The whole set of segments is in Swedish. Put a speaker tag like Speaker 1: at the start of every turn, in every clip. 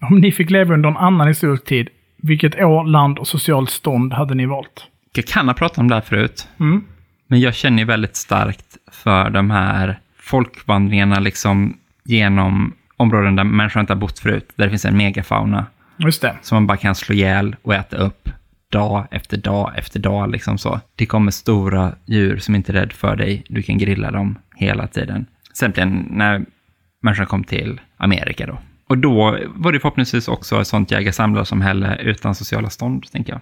Speaker 1: Om ni fick leva under en annan historisk tid, vilket år, land och socialt stånd hade ni valt?
Speaker 2: Jag kan ha pratat om det här förut.
Speaker 1: Mm.
Speaker 2: Men jag känner ju väldigt starkt för de här folkvandringarna liksom genom områden där människor inte har bott förut. Där det finns en megafauna
Speaker 1: Just det.
Speaker 2: som man bara kan slå ihjäl och äta upp dag efter dag efter dag. Liksom så. Det kommer stora djur som inte är rädd för dig. Du kan grilla dem hela tiden. Sen blev det när människan kom till Amerika då. Och då var det förhoppningsvis också ett sånt jägar-samlarsamhälle utan sociala stånd, tänker jag.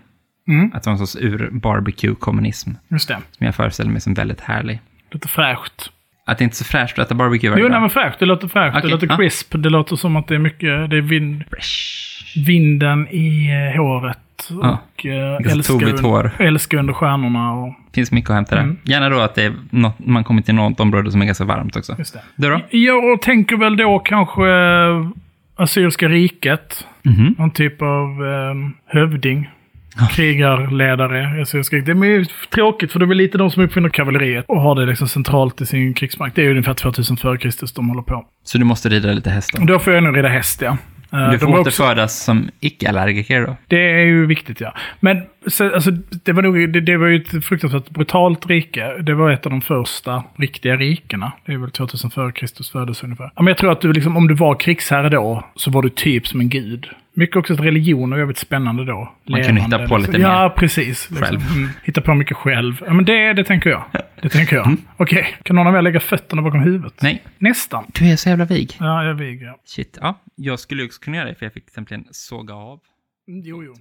Speaker 1: Mm.
Speaker 2: Att det var en sorts ur-barbecue-kommunism
Speaker 1: Just det.
Speaker 2: som jag föreställer mig som väldigt härlig.
Speaker 1: Låter fräscht.
Speaker 2: Att det inte är så fräscht att äta barbecue varje
Speaker 1: Jo,
Speaker 2: dag.
Speaker 1: nej men fräscht. Det låter fräscht.
Speaker 2: Okej,
Speaker 1: Det låter
Speaker 2: ja.
Speaker 1: crisp. Det låter som att det är mycket, det är vind,
Speaker 2: Fresh.
Speaker 1: vinden i eh, håret.
Speaker 2: Ja.
Speaker 1: Och eh,
Speaker 2: Ganska
Speaker 1: älska,
Speaker 2: tovigt hår.
Speaker 1: un, älska under stjärnorna och...
Speaker 2: finns mycket att hämta där.
Speaker 1: Mm.
Speaker 2: Gärna då att det är något, man kommer till något område som är ganska varmt också.
Speaker 1: Just det.
Speaker 2: Du då?
Speaker 1: Jag tänker väl då kanske eh, Assyriska riket.
Speaker 2: Mhm.
Speaker 1: Någon typ av eh, hövding. Krigarledare. Assyriska riket. Det är ju tråkigt för det är väl lite de som uppfinner kavalleriet och har det liksom centralt i sin krigsmakt. Det är ju ungefär 2000 före Kristus de håller på.
Speaker 2: Så du måste rida lite häst då?
Speaker 1: Då får jag nog rida häst ja. Eh,
Speaker 2: Du
Speaker 1: de
Speaker 2: får
Speaker 1: har
Speaker 2: inte
Speaker 1: också-
Speaker 2: födas som icke-allergiker då?
Speaker 1: Det är ju viktigt ja. Men så, alltså, det, var nog, det, det var ju ett fruktansvärt brutalt rike. Det var ett av de första riktiga rikena. Det är väl 2000 före Kristus födelse ungefär. Ja, men jag tror att du liksom, om du var krigsherre då, så var du typ som en gud. Mycket också att religion var jävligt spännande då.
Speaker 2: Man kunde hitta på lite
Speaker 1: Ja, precis. Liksom.
Speaker 2: själv.
Speaker 1: Mm. Hitta på mycket själv. Ja, men det, det tänker jag. Det tänker jag. Okej, kan någon av er lägga fötterna bakom huvudet?
Speaker 2: Mm. Nej.
Speaker 1: Nästan.
Speaker 2: Du är så jävla vig.
Speaker 1: Ja, jag viger.
Speaker 2: Shit, ja. Jag skulle ju också kunna göra det, för jag fick till exempel såga av.
Speaker 1: Jo, jo.